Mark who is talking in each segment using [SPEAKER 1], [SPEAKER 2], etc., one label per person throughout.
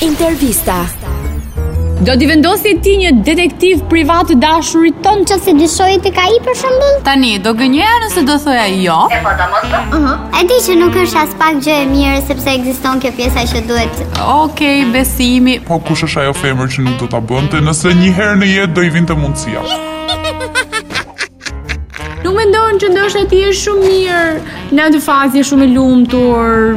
[SPEAKER 1] Intervista.
[SPEAKER 2] Do t'i vendosje ti një detektiv privat të dashurit ton?
[SPEAKER 3] Që se dyshoj të ka i për shëmbull
[SPEAKER 4] Tani, do gënjëja nëse do thoja jo,
[SPEAKER 3] E di që nuk është as pak gjë e mirë Sepse ekziston kjo pjesa që duhet
[SPEAKER 4] okej, besimi,
[SPEAKER 5] Po kush është ajo femër që nuk do ta bënte nëse një herë në jetë do i vinte mundësia?
[SPEAKER 2] Nuk mendon që ndoshta ti je shumë mirë, në atë fazë je shumë i lumtur.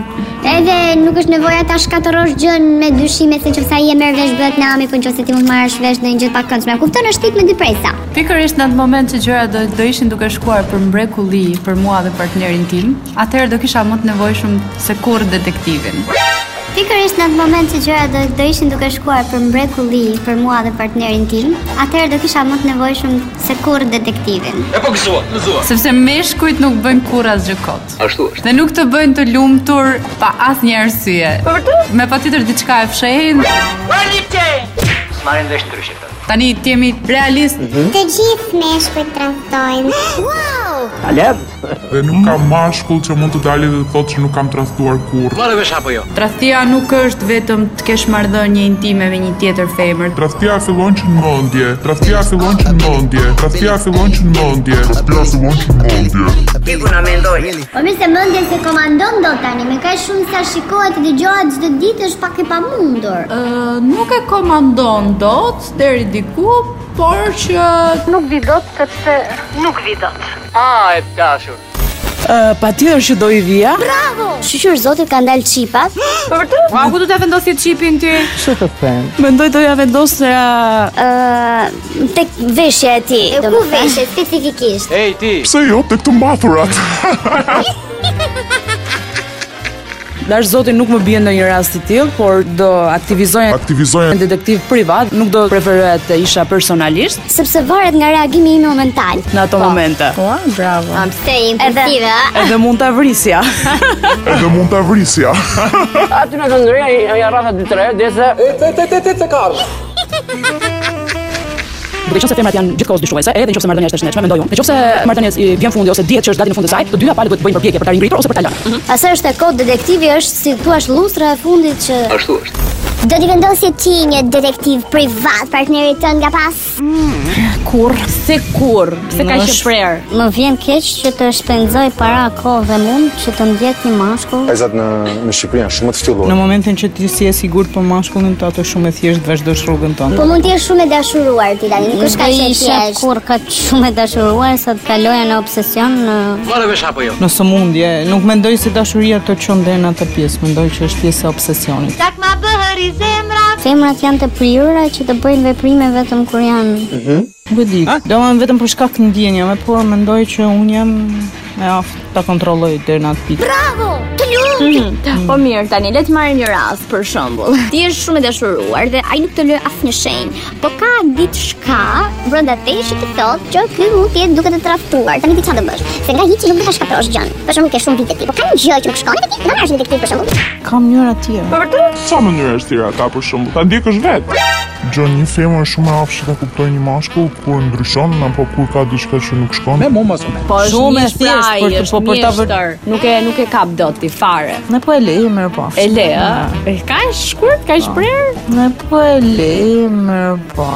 [SPEAKER 3] Edhe nuk është nevoja ta shkatërrosh gjën me dyshime Se që i e merë vesh bëhet në ami Po në se ti mund marrësh vesh në një gjë të pak këndshme Kupton është tik me dy prejsa
[SPEAKER 4] pikërisht në atë moment që gjëra do, do ishin duke shkuar për mrekulli për mua dhe partnerin tim, atëherë do kisha më të nevojshëm se kur detektivin.
[SPEAKER 3] Pikërisht në atë moment që gjëra do, do ishin duke shkuar për mrekulli Për mua dhe partnerin tim Atëherë do kisha më të nevojshëm se kur detektivin
[SPEAKER 6] E po gëzua, gëzua.
[SPEAKER 4] Sepse meshkujt nuk bëjnë kur asgjë kot.
[SPEAKER 6] Ashtu është.
[SPEAKER 4] Dhe nuk të bëjnë të lumtur pa asnjë arsye.
[SPEAKER 7] Po,
[SPEAKER 4] Me patjetër diçka e fshehin.
[SPEAKER 6] Marrin vesh ndryshe këtë.
[SPEAKER 4] Tani ti jemi realist.
[SPEAKER 7] Mhm.
[SPEAKER 3] Të gjithë me shkujt traftojnë Wow!
[SPEAKER 5] Dhe nuk ka mashkull që mund të dalë dhe të thotë që nuk kam tradhtuar kurrë.
[SPEAKER 6] Marrë vesh apo jo?
[SPEAKER 4] Tradhtia nuk është vetëm të kesh marrëdhënie intime me një tjetër femër.
[SPEAKER 5] Tradhtia fillon që në mendje, tradhtia fillon që në mendje, tradhtia fillon që në mendje. Tradhtia fillon që në mendje.
[SPEAKER 3] Po mirë se mendjen se komandon do tani, me kaq shumë sa shikohet dhe dëgjohet çdo ditë është pak e pamundur.
[SPEAKER 4] Ë, nuk e komandon dot deri diku, por që
[SPEAKER 6] Ah, e dashur.
[SPEAKER 7] Uh, pa tjetër që do i vija,
[SPEAKER 3] Shqyr zotit ka ndal çipat.
[SPEAKER 2] Ua, ku do ta vendosje çipin ti?
[SPEAKER 7] mendoj do ja vendosja
[SPEAKER 3] Ë, tek veshja e ti. E ku veshje specifikisht?
[SPEAKER 6] Ej ti.
[SPEAKER 5] Pse jo tek të mbathurat?
[SPEAKER 7] Dash zoti nuk më bie në një rast i tillë, por do aktivizoja
[SPEAKER 5] Aktivizojnë
[SPEAKER 7] një detektiv privat, nuk do preferoja të isha personalisht
[SPEAKER 3] Sepse varet nga reagimi im momental.
[SPEAKER 7] në ato momente.
[SPEAKER 4] Ua, bravo.
[SPEAKER 3] Po. Am se impulsive, ah. a?
[SPEAKER 7] Edhe mund ta vrisja.
[SPEAKER 5] edhe mund ta vrisja.
[SPEAKER 8] Aty në këndëria ja rrafa 2-3 herë derisa
[SPEAKER 7] Dhe nëse femrat janë gjithkohë dyshuese, edhe nëse marrëdhënia është e shëndetshme, mendoj unë. Nëse marrëdhënia i vjen fundi ose dihet që është gati në fund të saj, të dyja palët duhet të bëjnë përpjekje për ta ngritur ose për ta lënë.
[SPEAKER 3] Asa është e kod detektivi është si thua lustra e fundit që
[SPEAKER 6] Ashtu është.
[SPEAKER 3] do t'i vendosje ti një detektiv privat partnerit tënd nga pas. Mm.
[SPEAKER 7] Kur? Se kur?
[SPEAKER 2] Se ka shprehur.
[SPEAKER 3] Më vjen keq që të shpenzoj para kohë dhe mund që të ndjek një mashkull.
[SPEAKER 9] Vajzat në në Shqipëri janë shumë të ftyllur.
[SPEAKER 10] Në momentin që ti si e sigurt për mashkullin të ato shumë e thjesht vazhdosh rrugën tonë.
[SPEAKER 3] Po mund të jesh shumë e dashuruar ti tani, nuk është kaq e thjeshtë. Kur ka shumë e dashuruar sa të kaloja në obsesion në
[SPEAKER 6] Marrë vesh apo jo?
[SPEAKER 10] Në sëmundje, nuk mendoj se dashuria të çon deri në atë pjesë, mendoj që është pjesë e obsesionit.
[SPEAKER 3] femrat janë të prirura që të bëjnë veprime vetëm kur janë.
[SPEAKER 10] Nuk e di. Do më vetëm për shkak të ndjenjave, por mendoj që unë jam e aftë ta kontrolloj deri në atë pikë.
[SPEAKER 1] Po mirë tani, le të marrim një rast për shembull. Ti je shumë e dashuruar dhe ai nuk të lë asnjë shenjë.
[SPEAKER 3] Po ka diçka brenda tesh që të thotë që ky mund të jetë duke të traftuar. Tani ti çfarë do bësh? Se nga hiçi nuk do ta shkatërrosh gjën. Për shembull ke shumë vite ti, po ka një gjë që nuk shkon te ti, do marrësh një detektiv për shembull.
[SPEAKER 10] Ka mënyra tjera.
[SPEAKER 5] Sa mënyrë është tira ta për shembull? Ta ndjekësh vetë. Gjon një femër është shumë e afshë ta kuptoj një mashkull kur ndryshon apo kur ka diçka që nuk shkon.
[SPEAKER 8] mu mos me.
[SPEAKER 2] Po është
[SPEAKER 10] Shumë
[SPEAKER 2] një
[SPEAKER 10] e thjeshtë
[SPEAKER 2] shpraj,
[SPEAKER 10] për të-
[SPEAKER 2] është
[SPEAKER 10] po për ta
[SPEAKER 2] mjeshtër. Nuk e nuk e kap dot ti fare.
[SPEAKER 10] Ne po e leje mirë po.
[SPEAKER 2] E le, Po. ë? E ka shkurt, ka shprehur?
[SPEAKER 10] Ne po e leje mirë po.